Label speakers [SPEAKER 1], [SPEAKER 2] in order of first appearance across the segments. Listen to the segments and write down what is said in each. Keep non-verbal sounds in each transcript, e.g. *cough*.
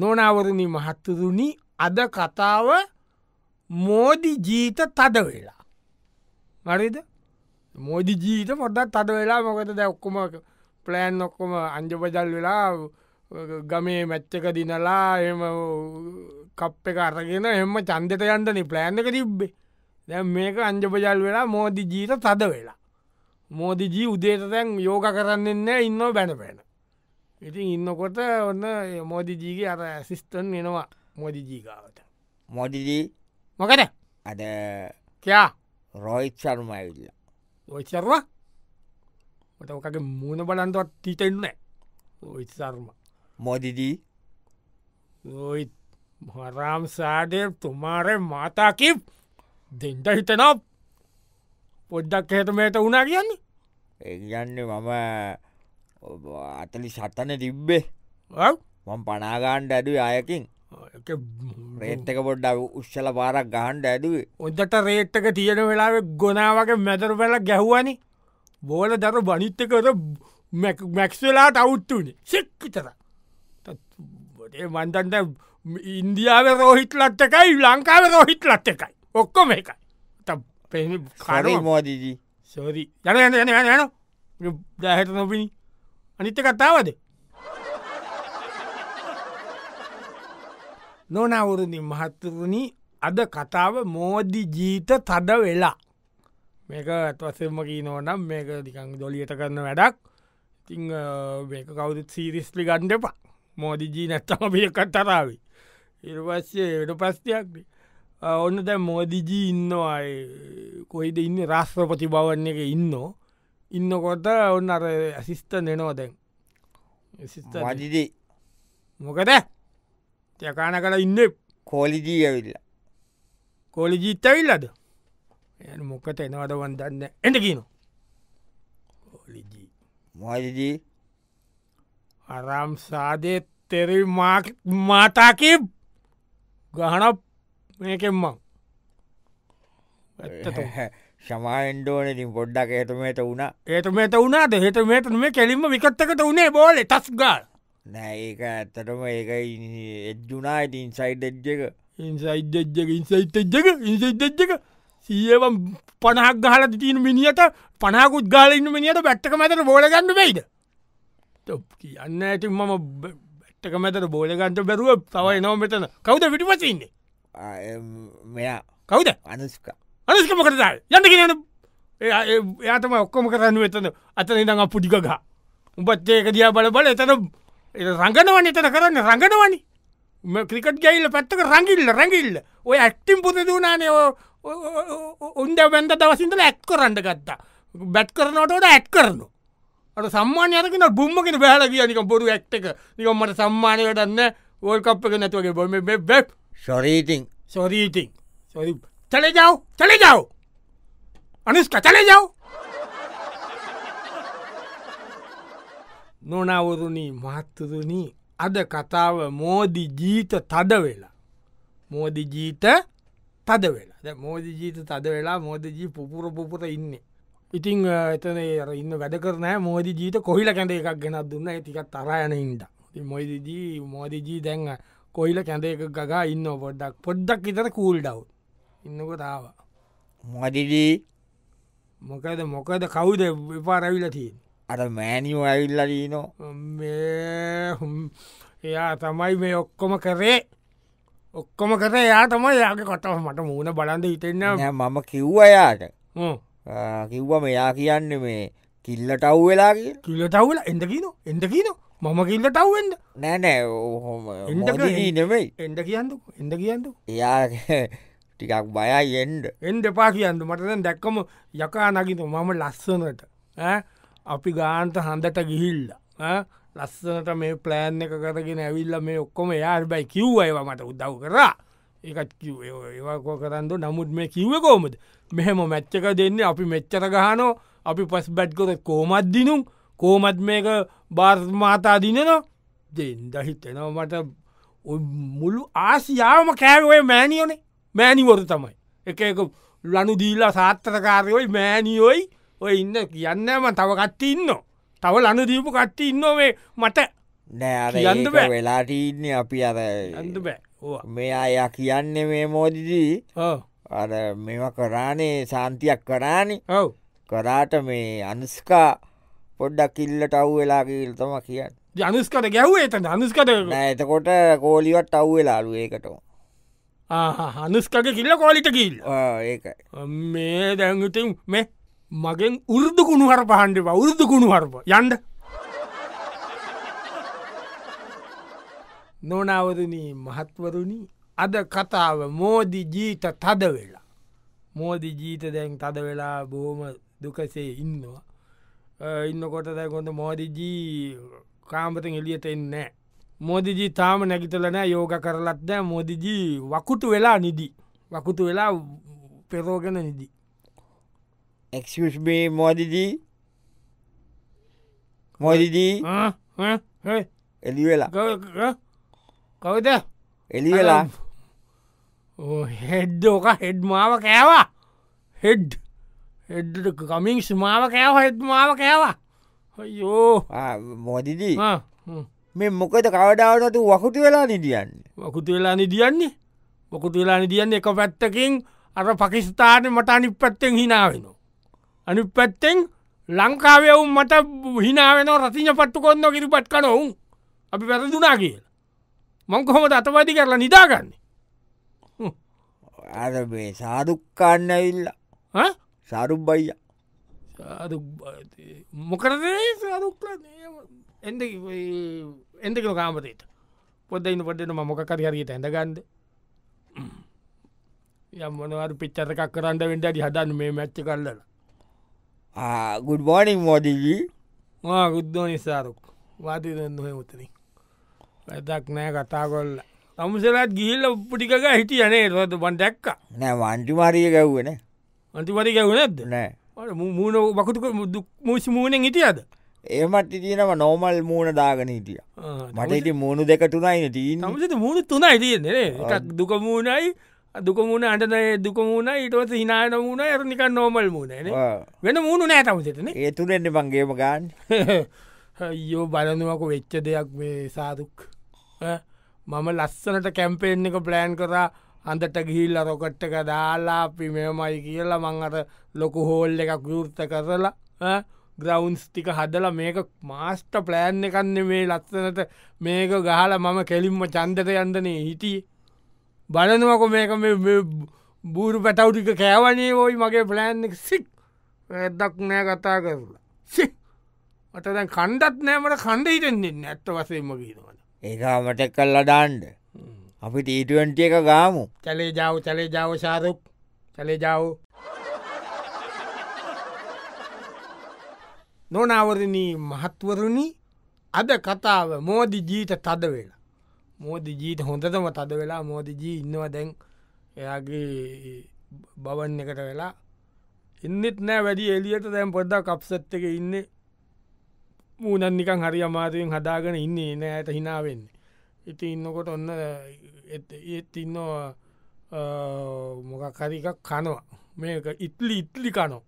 [SPEAKER 1] නොනවරණ මහත්තුරුණි අද කතාව මෝදි ජීත තද වෙලා. මරිද මෝදි ජීත පොඩත් අද වෙලා මොකද දැක්කුම ප්ලෑන් ඔක්කොම අංජපජල් වෙලා ගමේ මැච්චක දිනලා එම කප් එක අරගෙන එම චන්දත යන්ටන ප්ලෑන් එක තිබ්බේ දැ මේක අංජපජල් වෙලා මෝදි ජීත තද වෙලා. මෝදිජී උදේතතැන් යෝග කරන්නන්න ඉන්න බැනපෑන. ඉතින් ඉන්නකොට ඔන්න මෝදිජීගේ අර ඇසිස්ටන් එනවා මෝදිජීකාවට.
[SPEAKER 2] මොඩිදී
[SPEAKER 1] මොකද
[SPEAKER 2] අද
[SPEAKER 1] කයා
[SPEAKER 2] රෝයිත් සර්මයිල්ල
[SPEAKER 1] ඔයිසරවා මටකගේ මුණ බලන්ටත් ටීටෙන්න ඔයිසර්ම
[SPEAKER 2] මොඩිදී
[SPEAKER 1] ඔයි හරාම් සාඩය තුමාරය මාතාකිප් දෙන්ට හිතනොප් පොඩ්ඩක් හතමට වුණා කියන්නේ
[SPEAKER 2] ඒගන්න මම ඔබ අතලි සතන තිබ්බේ
[SPEAKER 1] ඔව්.
[SPEAKER 2] මං පනාගාණ්ඩ ඇඩුව අයකින්
[SPEAKER 1] ඔය එක
[SPEAKER 2] රේත්තක පොඩ්ඩ උත්්සල පාරක් ගහන්ඩ ඇඩුවේ
[SPEAKER 1] ඔොදට රේට්ටක තියෙන වෙලාව ගොනාවගේ මැතර පැල ගැහ්වනි බෝල දර බනිත්තකර මැක්ස්වෙලාට අවුත්තුනේ සෙක්විතර මන්තන්ට ඉන්දියාව රෝහිත් ලත් එකයි ලංකාව රෝහිත් ලත් එකයි ඔක්කොම එකයි ප
[SPEAKER 2] හරි
[SPEAKER 1] කර
[SPEAKER 2] මෝදිදී
[SPEAKER 1] සෝරී යන යන යන යන යන දැහැට නොපිණි අනිත්ත කතාවද නොනවුරුණින් මහත්තුරුණි අද කතාව මෝදි ජීත තද වෙලා මේක ඇත්වසමකී නෝනම් මේක දිකං දොලියට කරන්න වැඩක් ඉතිං මේක කවුරුත් සීරිස්ලි ගණ්ඩපා මෝදිජී නැත්තම පියකත්තරාවි ඉරවස්්‍යය වැඩ ප්‍රස්තියක්නේ ඔන්න දැ මෝදිජී ඉන්නවා ඒ කොයිද ඉන්න රාස්ත්‍රපති බවන්න එක ඉන්න ඉන්නකොට ඔන්න අර ඇසිස්ත නෙනවා දැන් ඇසිස්ටන්ට්
[SPEAKER 2] මදිදී
[SPEAKER 1] මොකද යකාන කළ ඉන්න
[SPEAKER 2] කෝලිදී ඇවිල්ල
[SPEAKER 1] කෝලිජීත් ඇවිල්ලද එ මොකට එනවද වන් දන්න එට කියන කෝලිජී
[SPEAKER 2] මොදිදී
[SPEAKER 1] අරම් සාදය තෙරි මාක් මාතාකි ගහන මේකෙන්මං
[SPEAKER 2] *laughs*
[SPEAKER 1] ඇත්තට
[SPEAKER 2] සමාෙන්ඩෝනතින් පොඩ්ඩක් ඇතමට වුණ
[SPEAKER 1] ඒට මෙට වුණනාද හෙට මේට මේ කෙලින්ම විකත්තකට වනේ බෝල තස් ගාල්
[SPEAKER 2] නෑ ඒක ඇත්තටම ඒක එජ්ජුනා ඉතින් සයිට් එජ් එක
[SPEAKER 1] ඉන්සයිද්ජක ඉන්සයිතජ්ජක ඉන්සයිතජ්ජක සියවම් පනහක් ගහල තිීන මිනිියට පනහකුත් ගාලඉන්න මිනිියට බැට්ටක මතර බෝලගන්න වෙයිද තොප් කියන්න ඇති මම බැට්ටක මතර බෝලගන්ට බැරුව තවයි නව මෙතන කවුද විටිපසන්නේ
[SPEAKER 2] මෙයා
[SPEAKER 1] කවුද
[SPEAKER 2] අනුස්ක
[SPEAKER 1] අනස්කම කරතා යන්න කියන එයාතම ඔක්කොම කරන්න වෙතන අතන ඉඳඟ පුඩිකගහ උඹත් ඒක දිය බල බල එතන රංගනවන එතන කරන්න රඟනවනි ක්‍රිකට ගැල්ල පැත්තක රඟිල්ල රැඟිල්ල ඔය ඇක්ටිම් පුත දුනානය උන්ද වැන්ද දවසින්දල ඇත් කරන්න ගත්තා බැට් කරනටට ඇත් කරනු අට සම්මානය අරකෙන බුම්මකෙන බෑල කිය නික බොරු ඇක්ටක නිකම්මට සම්මානය දන්න ඕල් කප් එක නැතුවගේ බොම බැබ්
[SPEAKER 2] ශොරීතින්
[SPEAKER 1] සොරීතින් සොරි චල ජව් චල ජව් අනිස්ක චල ජව් නොනවුරුණී මහත්තුරුණී අද කතාව මෝදි ජීත තද වෙලා මෝදි ජීත තද වෙලා දැන් මෝදි ජීත තද වෙලා මෝදජී පුපුර පුපුර ඉන්න ඉතිං අ, එතන අර ඉන්න වැඩ කරනෑ මෝදි ජීත කොහිල කැඳ එකක් ගෙනත් දුන්න ඇතිකත් තරයන ඉන්ට මොයිදිජී මෝදිජී දැන් කොයිල කැඳ එක ගගා ඉන්න පොඩ්ඩක් පොඩ්ඩක් ඉතර කූල් ඩව් ඉන්නක තාව
[SPEAKER 2] මොදිදී
[SPEAKER 1] මොකද මොකද කවුද විපාරැවිල තියෙන්
[SPEAKER 2] අර මෑනිියෝ ඇවිල්ලදී නෝ
[SPEAKER 1] මේ හුම්, එයා තමයි මේ ඔක්කොම කරේ ඔක්කොම කර එයා තමයි යාගේ කොටව මට මූුණ බලන්ද හිතෙන්න
[SPEAKER 2] නෑ මම කිව්වයාට
[SPEAKER 1] ඕ.
[SPEAKER 2] කිව්ව මෙයා කියන්න මේ කිල්ල ටව් වෙලා කිය
[SPEAKER 1] කිල්ලටව්ල එඩ කියන එඩ කියන මම කිල්ල ටව්ෙන්ද
[SPEAKER 2] නෑනෑ ඔහොම
[SPEAKER 1] එන්ඩ
[SPEAKER 2] මොදිදී
[SPEAKER 1] ගහේ.
[SPEAKER 2] නෙමෙයි
[SPEAKER 1] එඩ කියන්නු එඩ කියන්නු
[SPEAKER 2] එයා *laughs* ටිකක් බයයි එන්ඩ
[SPEAKER 1] එන්ඩ එපා කියන්න මටද දැක්කම යකා නගිතු මම ලස්සනට ඈ? අපි ගාන්ත හඳට ගිහිල්ල ඈ? ලස්සනට මේ ප්ලෑන් එක කරගෙන ඇවිල්ල මේ ඔක්කොම යාර්බයි කිව්ව ඒවා මට උදව් කරා ඒකත් කිව් ඒවාකෝ කරන්න නමුත් මේ කිව්ව කෝමද මෙහෙම මැච්චක දෙන්නේ අපි මෙච්චර ගහනෝ අපි පස් බැට්කොත කෝමත් දිනුම් කෝමත් මේක බර්මාතා දිනනවා දෙන්ද හිතෙනවා මට ඔය මුළු ආසියාවම කෑවේ මෑනිියනේ මෑනිවරු තමයි එක එක ලනු දීලා සාත්‍රකාරයෝයි මෑනිියෝයි ඔය ඉන්න කියන්නම තව කට්ටි ඉන්න තව ලනු දීපු කට්ටි ඉන්න මේ මට කියන්න
[SPEAKER 2] නෑ
[SPEAKER 1] බෑ.
[SPEAKER 2] වෙලාටීන්නේ අපි අර
[SPEAKER 1] ඇඳ බෑ ඕවා
[SPEAKER 2] මේ අය කියන්න මේ මෝදිදී
[SPEAKER 1] ඔව්.
[SPEAKER 2] අර මෙම කරානේ සාන්තියක් කරානි
[SPEAKER 1] ඔව්
[SPEAKER 2] කරාට මේ අනුස්කා පොඩ්ඩක් ඉල්ලට අව් වෙලාකිල් තම කියන්න
[SPEAKER 1] ජනුස්කට ගැව්වේ එතන අනුස්කට
[SPEAKER 2] නෑ එතකොට කෝලිවට අව් වෙලාලු ඒකට
[SPEAKER 1] අනුස්කට කිල්ල කෝලිට කිල්ල
[SPEAKER 2] ඒකයි
[SPEAKER 1] මේ දැන්ගතින් මේ මගෙන් උරුදු කුණු හර පහන්ඩිව උරුදු කුණු හරප යන්ඩ නොනවරණී මහත්වරුණි අද කතාව මෝදි ජීත තද වෙලා මෝදි ජීත දැන් තද වෙලා බොහොම දුකසේ ඉන්නවා අ, ඉන්නකොට දැකොට මෝදිජී කාම්පතෙන් එලියට එන්නෑ මෝදිජී තාම නැගිතලනෑ යෝග කරලත් දෑ මෝදිජී වකුතු වෙලා නිදී වකුතු වෙලා පෙරෝගෙන නිදී
[SPEAKER 2] එක්ෂබේ මෝදිදී මෝදිදී
[SPEAKER 1] ආ, ආ, හේ,
[SPEAKER 2] එලි වෙලා
[SPEAKER 1] කව- ක- කවද
[SPEAKER 2] එලි වෙලා
[SPEAKER 1] හෙඩ් ඕක හෙඩ් මාව කෑවා හෙඩ් හෙඩ් කමින්ස් මාව කෑව හෙඩ් මාව කෑවා යෝ
[SPEAKER 2] මෝදිදී මේ මොකද කවඩාවනතු වකුතු වෙලා නිදියන්න
[SPEAKER 1] වකුතු වෙලා නිදියන්නේ මොකුතු වෙලා නිදියන්නේ එක පැත්තකින් අර පකිස්ථානය මට අනිත් පැත්තෙන් හිනාවෙනවා. අනි පැත්තෙන් ලංකාවවුම් මට හිනාවෙන රතින පට්ටු කොන්න කිරිපට් කනොවුන් අපි පැරදුනා කියලා. මංකොහොම අතපති කරලා නිදාගන්නේ
[SPEAKER 2] අර මේ සාදුක්කාන්න ඉල්ල
[SPEAKER 1] ඈ?
[SPEAKER 2] සරුබ්බයිය
[SPEAKER 1] සාදු- මොකරද සාදුක්ල එ එදකන කාමතේට පොදයින්න පොටන මොකරි හරියට ඇඳගන්ද යම් මොනවට පිච්චතකක් කරන්න වෙන්ට අඩි හදන්න මේ මැච්ච කරලලා
[SPEAKER 2] ගුඩ්බෝනිින් මෝදිී
[SPEAKER 1] මා ගුද්ධෝ නිසාරුක් වාතිද නොහ මුතරින් වැදක් නෑ කතා කොල්ල තමුසලත් ගිහිල්ල උප්පටිකක හිටිය යනේ රොද බන් දැක්ක
[SPEAKER 2] නෑ වන්ටිමාරිය ගැව්වෙන
[SPEAKER 1] අන්තිපරි ගැවුණනද
[SPEAKER 2] නෑ
[SPEAKER 1] මූුණ වකටක මුෂ මූුණෙන් හිටියද
[SPEAKER 2] ඒමට ඉතිනම නෝමල් මූුණ දාගෙන හිටිය මට ඉති මූුණු දෙක තුනයින තිීන
[SPEAKER 1] තමසට මුණු තුනයි තියන්නේ එකක් දුකමූුණයි දුකමුණ අටන දුකමුණ ඉටවස හිනාන මුණ ඇරනික නෝමල් මුණන වෙන මුණු නෑ තමසටන
[SPEAKER 2] ඒතුනෙන්න මංගේම ගාන්
[SPEAKER 1] *laughs* යෝ බලනුවක වෙච්ච දෙයක් මේ සාදුක් ඈ? මම ලස්සනට කැම්පේෙන් එක ප්ලෑන් කරා අන්දට ගිහිල්ල රොකට් එක දාලා අපි මෙමයි කියලා මං අර ලොකු හෝල් එකක් විෘත්ත කරලා ඈ? ග්‍රවන්ස් ටික හදල මේක මාස්ට ප්ලෑන් එකන්නේ මේ ලස්සනට මේක ගහල මම කෙලින්ම චන්දත යන්දනේ හිටියේ බලනවක මේක මේ- මේ බූරු පැටවටික කෑවනේ ඔයි මගේ ප්ලෑන් එක සික් වැදක් නෑ කතා කරලා සි අතදැන් කණ්ඩත් නෑමට කණ්ඩ හිටෙන්න්නේ ඇත්ත වසේම කියීරවන
[SPEAKER 2] ඒකාමට කල් අඩාන්ඩ අපි ටීටුවන්ට E එක ගාමු
[SPEAKER 1] චලේ ජාව චලේ ජාව ශාරුක් චලේ ජාව නොනවරණී මහත්වරුණි අද කතාව මෝදි ජීත තද වෙලා මෝදි ජීත හොඳතම තද වෙලා මෝදි ජී ඉන්නවා දැන් එයාගේ බවන් එකට වෙලා ඉන්නෙත් නෑ වැඩි එලියට දැම් පොඩ්ඩා කප්සත් එක ඉන්න මූනන්නිකන් හරි අමාතයෙන් හදාගෙන ඉන්නේ නෑ ඇයට හිනාවෙන්නේ ඉති ඉන්නකොට ඔන්න ඒත් ඉන්න මොකක් හරිකක් කනවා මේක ඉත්ලි ඉත්ලි කනෝ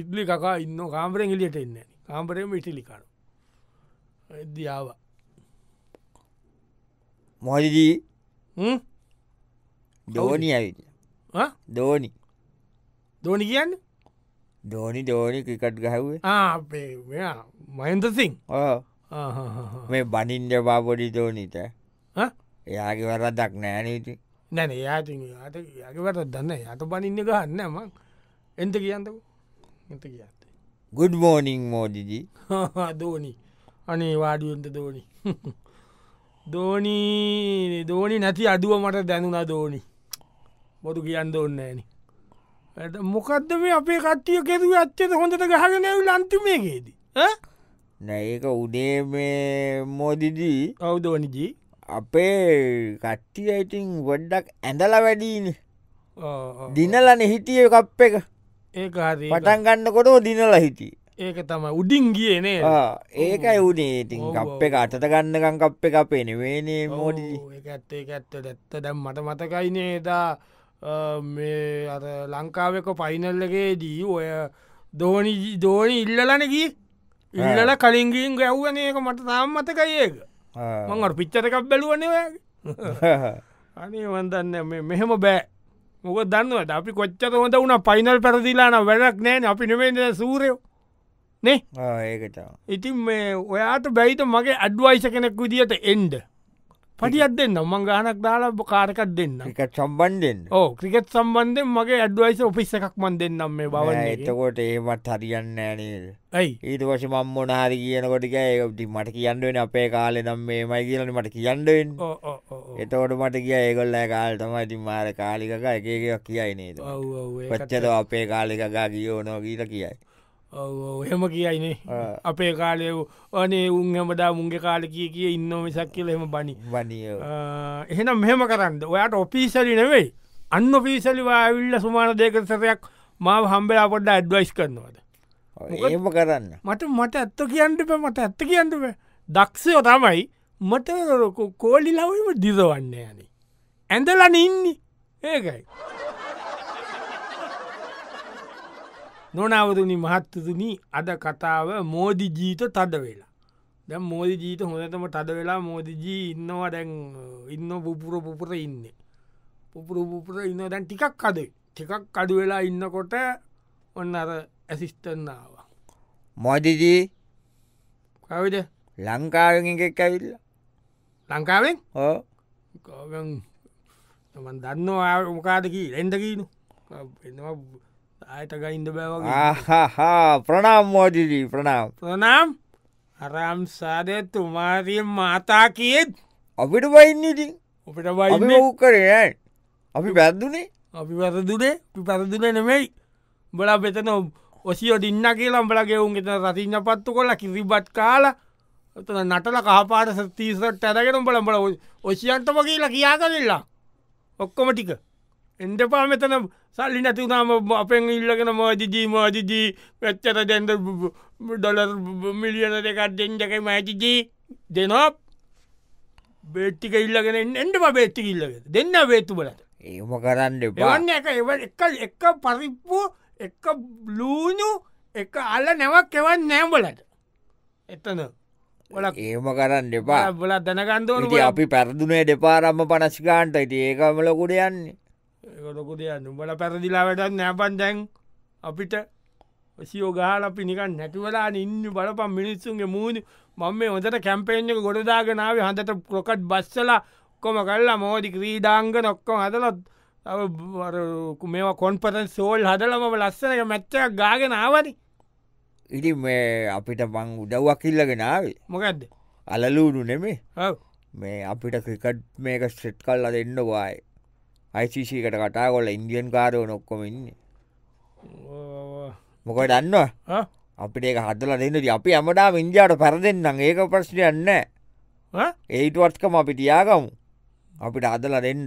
[SPEAKER 1] ඉත්ලි කකා ඉන්න කාම්පරෙන් එලියට එන්න කාම්පරයම ඉටිලි කනු දියාව
[SPEAKER 2] මොදිදී දෝනි ඇවිල්ල දෝනි
[SPEAKER 1] දෝනි කියන්න
[SPEAKER 2] දෝනි දෝනි ක්‍රිකට් ගහවේ
[SPEAKER 1] ආපේ මෙයා මයින්දසිං
[SPEAKER 2] මේ බනින්ද බාපොඩි දෝනිට එයාගේ වර දක් නෑනීති
[SPEAKER 1] නැන යාති යාට යගවට දන්න යට බනින්න ගන්න ම එන්ත කියන්නක එත කියන්න
[SPEAKER 2] ගුඩ් මෝනිින් මෝදිදී
[SPEAKER 1] *laughs* දෝනි අනේ වාඩියන්ට *laughs* දෝනි දෝනී දෝනි නැති අඩුව මට දැනුනා දෝනි බොතු කියන්න ඕන්න ඇන මොකක්ද මේ අපේ කට්ටිය කෙරුව අච්චත හොඳට ගහගෙනැව ලන්තිමේගේදී
[SPEAKER 2] නැඒක උඩේ මේ මෝදිදී
[SPEAKER 1] කවදෝනිජී
[SPEAKER 2] අපේ කට්ටියයිටින් ගොඩ්ඩක් ඇඳල වැඩීන දිනලන හිටිය කප් එක
[SPEAKER 1] ඒ හරි
[SPEAKER 2] පටන් ගන්නකොට දිනල හිටිය
[SPEAKER 1] ඒක තම උඩින් ගියනේ
[SPEAKER 2] ඒකයි උනේ ඉතින්
[SPEAKER 1] ඔව්,
[SPEAKER 2] කප් එක අටත ගන්නකම් කප් එක අපේ නෙවේනේ මෝඩිදී
[SPEAKER 1] ඇත්තේ ඇත්ත ඇත්ත දැම් මට මතකයිනේදා මේ අර ලංකාවක පයිනල්ලගේ දී ඔය දෝනි දෝනි ඉල්ලලනකි ඉල්ලල කලින්ගින් ගැව්වනක මට තාම් මතකයිඒක මඟට පිච්චර එකක් බැලුවනවගේ අනේ වදන්න මෙහෙම බෑ මොක දන්නවට අපි කොච්චර හොඳ වුණ පයිනල් පැරදිලාන වැඩක් නෑන අපි නෙමේද සූරයෝ නේ
[SPEAKER 2] ඒකට
[SPEAKER 1] ඉතින් මේ ඔයාට බැයිත මගේ අඩ්වයිස කෙනෙක් විදිහට එන්ඩ පටියත් දෙන්න මං ගානක් දාලා බ කාරකත් දෙන්න
[SPEAKER 2] එක සම්බන්්ඩෙන්
[SPEAKER 1] ඕ ක්‍රිකෙට් සම්බන්ධෙන් මගේ අඩ්වයිස ඔපිස්ස එකක් මන් දෙන්නම් මේ බව
[SPEAKER 2] එතකොට ඒමත් හරියන්න ඇනේද
[SPEAKER 1] ඇයි
[SPEAKER 2] ඊට පස මම් මොනාරි කියනකොටික ඒටි මට කියන්නුවෙන් අපේ කාලෙ නම් මේමයි කියලන මට කියන්නුවෙන්
[SPEAKER 1] ඕ, ඕ, ඕ, ඕ.
[SPEAKER 2] එතකොට මට කිය ඒගොල්ල කාල්ටම ඉතින් මාර කාලිකක එකකක් කියයි නේද
[SPEAKER 1] ඔව්, ඔව්, ඒකත්
[SPEAKER 2] පච්චද අපේ කාලිකකා කියෝනෝ කියීල කියයි
[SPEAKER 1] ඔව්, ඔව්, එහෙම කියයිනේ
[SPEAKER 2] ආ.
[SPEAKER 1] අපේ කාලය අනේ උන්හමදා මුන්ගේ කාල කිය කිය ඉන්න මිසක් කියල එහෙම බනි
[SPEAKER 2] වනියෝ
[SPEAKER 1] එහෙනම් මෙහෙම කරන්න ඔයාට ඔපිසලි නෙවෙයි අන්න ඔපිසලි වාවිල්ල සුමාන දෙකට සරයක් මාව හම්බෙලා පොඩ්ඩ ඇඩ්වයිස් කරනවාද
[SPEAKER 2] ඒම කරන්න
[SPEAKER 1] මට මට ඇත්ත කියන්නට මට ඇත්ත කියන්නට දක්ෂයෝ තමයි මට රොකු කෝලි ලවම දිදවන්න යන ඇඳලන ඉන්නේ ඒකයි නොනවරනි මහත්තතුනී අද කතාව මෝදි ජීත තද වෙලා දැ මෝදි ජීත හොඳතම තද වෙලා මෝදිජී ඉන්නවා දැන් ඉන්න පුපුර පුපුර ඉන්නේ පුපුර පුපුර ඉන්න දැන් ටිකක් කදේ ටිකක් අඩු වෙලා ඉන්නකොට ඔන්න අර ඇසිස්ටන්නාව
[SPEAKER 2] මොදිදී
[SPEAKER 1] කවිද
[SPEAKER 2] ලංකාවෙන් එකෙක් ඇවිල්ල
[SPEAKER 1] ලංකාවෙන්
[SPEAKER 2] ඕ
[SPEAKER 1] කෝගන් තමන් දන්නවා මොකාදකි එෙන්දකීනු එවා ආයතක ඉන්ද බෑවගේ
[SPEAKER 2] ආහහා ප්‍රනාම් මෝදිදී ප්‍රනාම්
[SPEAKER 1] ප්‍රනම් අරම් සාදය තුමාරියෙන් මාතා කියෙත්
[SPEAKER 2] අපිට පයින්නඉතින්
[SPEAKER 1] අපිට
[SPEAKER 2] අපි
[SPEAKER 1] වයින්නේ
[SPEAKER 2] ඕකරයන් අපි පැත්දුනේ
[SPEAKER 1] අපි වැරදුනේ අපි පැරදින නෙමෙයි බල බෙතන ඔසිියෝ ඉන්න කියලා බලගේ උන් එතන රතින්න පත්තු කොල්ල කිරිබත් කාලා එතන නටල කාපාට සතීසට ඇදගෙන බල බල ඔසියන්ටම කියලා කියා කරල්ලා ඔක්කොම ටික එන්ටපා මෙතන සල්ලි නැතිවනාම අපෙන් ඉල්ලගෙන මෝජිජී මෝජිජී වෙච්චර දෙන්ද ඩොලර් මිලියන දෙකත් දෙෙන්ජකයි මෑතිජී දෙනෝ බේට්ටික ඉල්ලගෙන එන්ට බේට්ටි ඉල්ලගෙන දෙන්න බේතු බලට
[SPEAKER 2] ඒම කරන්න එපා
[SPEAKER 1] එවන්න එක එව එක එක පරිප්පු එක ලූනු එක අල්ල නැවක් එවන් නෑම්බලට එතන ඔලක්
[SPEAKER 2] ඒම කරන්න එපා
[SPEAKER 1] බල දැනගන්දවන
[SPEAKER 2] ඉති අපි පැරදුනේ දෙපාරම්ම පනස්කාන්ට යිති ඒකමලකුඩ යන්නේ
[SPEAKER 1] ලොකුද නුබල පැරදිලා වැඩත් නෑපන් දැන් අපිට සියෝගාල අපි නිකන් නැතිවලා ඉන්න බලපම් මිනිස්සුන්ගේ මූුණ මම මේ හොඳට කැම්පේෙන් එක ගොඩදාගෙනාව හඳට ප්‍රොකට් බස්සලා කොම කල්ලා මෝදි ක්‍රීඩාංග නොක්කොම හදලත් මේ කොන්පතන් සෝල් හදලම ලස්සනක මැච්චක් ගාගෙනාවනි
[SPEAKER 2] ඉටි මේ අපිට බං උදව්වකිල්ලගෙනාවේ
[SPEAKER 1] මොකක්ද
[SPEAKER 2] අලලූඩු නෙමේ
[SPEAKER 1] ඔව්.
[SPEAKER 2] මේ අපිට ක්‍රිකට් මේක ස්ට්‍රෙට් කල්ල දෙන්නවායි අයිසිසිකට කටා කොල ඉන්දියන් කාරෝ නොක්කොමඉන්නේ
[SPEAKER 1] ඕ,
[SPEAKER 2] මොක දන්නවා
[SPEAKER 1] ආ?
[SPEAKER 2] අපිට ඒක හදල දෙන්නට අපි අමඩා ඉන්ජාට පැර දෙන්නම් ඒක ප්‍රශ්නයන්න
[SPEAKER 1] ආ?
[SPEAKER 2] ඒටවත්කම අපි ටියාගමු අපිට අදල දෙන්න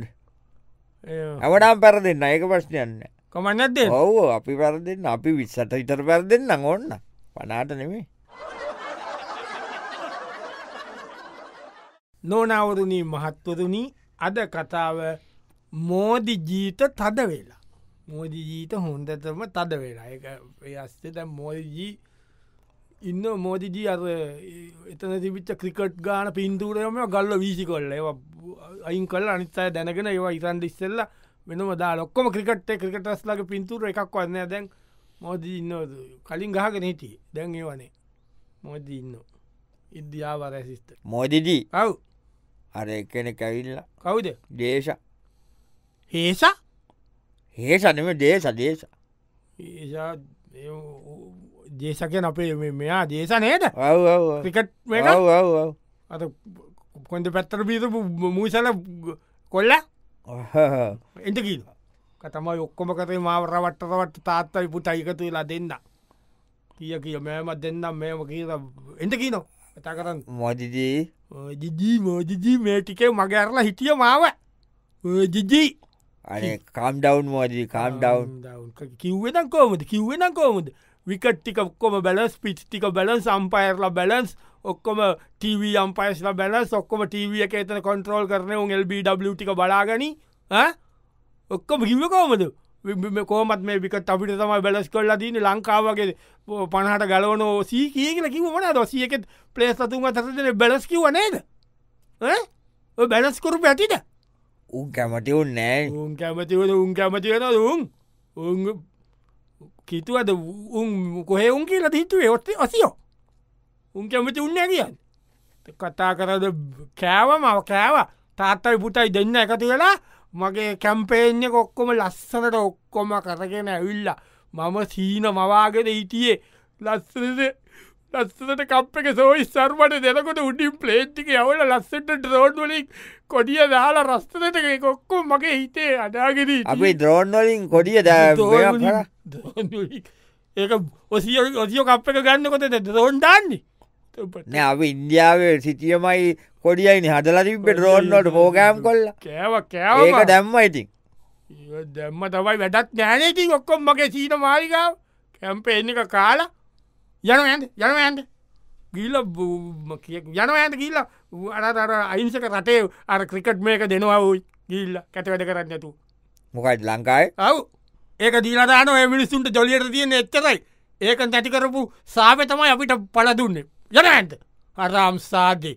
[SPEAKER 1] ඒ,
[SPEAKER 2] ඇමඩාම් පැර දෙන්න ඒක ප්‍රශ්නයන්න
[SPEAKER 1] කමන්නත් දේ
[SPEAKER 2] ඔව අපි පැර දෙන්න අපි විස්සට හිතර පැර දෙන්න ඔන්න පනාට නෙමේ
[SPEAKER 1] නොනවරුණී මහත්වරුණී අද කතාව මෝදි ජීත තද වෙලා මෝදි ජීත හොන්දතම තද වෙලා එක අස්තත මෝදිජී ඉන්න මෝදිජී අර එතන තිබිච්ච ක්‍රිකට් ගාන පින්දුරයම ගල්ල වීසි කොල්ල ඒ අයින් කල් අනිත්සාය දැනගෙන ඒවා ඉසන්ඩ ඉස්සල්ල වෙනම දා ලොක්කොම ක්‍රිකට් ක්‍රිකටස්ලගේ පින්තුර එකක් වන්න දැන් මෝදී ඉන්න කලින් ගහගෙන හිටිය දැන් ඒවනේ මෝදී ඉන්න ඉද්‍යාවර ඇසිස්ට
[SPEAKER 2] මෝදිදී
[SPEAKER 1] කව්
[SPEAKER 2] අර එකන කැවිල්ල
[SPEAKER 1] කවුද
[SPEAKER 2] දේශ
[SPEAKER 1] හේස
[SPEAKER 2] හේසනම දේශ දේශ
[SPEAKER 1] ඒසා දේශකයන අපේ මේ- මෙයා දේශ නේද
[SPEAKER 2] ඔව් ඔව් ඔව්.
[SPEAKER 1] ක්‍රිකට්
[SPEAKER 2] ඔව් ඔව් ඔව්.
[SPEAKER 1] අත කොඳ පැත්තර පිීතපු මූසල කොල්ල
[SPEAKER 2] ඔහ්.
[SPEAKER 1] එට කිල් කතමයි ඔක්කොම කරේ මාවරවට්ටරවට තාත්තයි පුට අයිකතු වෙලා දෙන්න කිය කිය මෙමත් දෙන්නම් මෙම කියල එට කියනො කතා කරන්න
[SPEAKER 2] මොදිදී
[SPEAKER 1] ජිජී මෝජිජී මේ ටිකේ මගේ අරලා හිටිය මාව ජිජී
[SPEAKER 2] අනේ කාම්ඩවන්් මෝදී කාම්ඩවන්්
[SPEAKER 1] කිව්වෙනම් කෝමද කිව්වෙනම් කෝමද විකට්ටික ඔක්කොම බැලස් පිච්ටික බැලන් සම්පයර්ල බැලන්ස් ඔක්කොම TV අම්පයිස්ල බැලස් ඔක්කොම TV එක එතන කොන්ට්‍රෝල් කරන උන් LBWටික බලාගනි ඔක්කොම කිව කෝමද කෝමත් මේ විකට අපිට තමයි බැලස් කොල්ල දීන ලංකාවගේ e පනහට ගලවනෝ සී කිය කියල කිවමන දොසියකෙත් පලේස් සතුන් අතරන බැලස් කිව නේද ඔය බැලස් කොරු පැතිට
[SPEAKER 2] උන් කැමතිවුන් නෑ
[SPEAKER 1] උන් කැමතිවද උන් කැමතිවෙන උන් උන් කිතුවද උන් කොහේ උන් කියලා හිතුවේ ඔත්තේ ඔසියෝ උන් කැමති උන්න කියන්න කතා කරද කෑව මව කෑව තාත්තයි පුතයි දෙන්න එකතු වෙලා මගේ කැම්පේෙන්ය කොක්කොම ලස්සනට ඔක්කොම කරගෙන ඇවිල්ලා මම සීන මවාගෙන හිටියේ ලස්සනද ලස්සට කප් එක සෝයි සර්වට දෙනකොට උඩින් ප්ලේට්ික යවල ලස්සට රෝඩ්වලින් කොඩිය දාලා රස්තනටක කොක්කො මගේ හිතේ අඩාගෙන
[SPEAKER 2] අපි ද්‍රෝන්වලින් කොඩිය ද
[SPEAKER 1] ඒ ඔසිය ඔසිය කප් එක ගන්නකොට ද දෝන්ඩාන්නේ
[SPEAKER 2] නෑ අපි ඉන්දියාවේ සිටියමයි කොඩියයිනි හදලතිබ ඩ්‍රෝන්නොට පෝගෑම් කොල්ල
[SPEAKER 1] කෑව
[SPEAKER 2] ඒක
[SPEAKER 1] කෑවක
[SPEAKER 2] දැම්ම ඉතින්
[SPEAKER 1] ඒව දැම්ම තමයි වැඩත් නෑනති ඔක්කොම් මගේ සීන මාරිකාව කැම්පේන එක කාලා යන ඇද යන ඇන්ට ගිල්ල යන ඇත ගිල්ල අරතර අයින්සක රටේ අර ක්‍රිකට් මේක දෙනවා ඔයි ගිල්ල කැටවැඩ කරන්නතු
[SPEAKER 2] මොකයිත් ලංකායි
[SPEAKER 1] ඔව් ඒක දීලදාන මිනිස්සුන්ට ජොලියට තියෙන එච්චරයි ඒක නැති කරපු සාප තමයි අපිට පල දුන්නේ යන ඇන්ට අරාම් සාගේ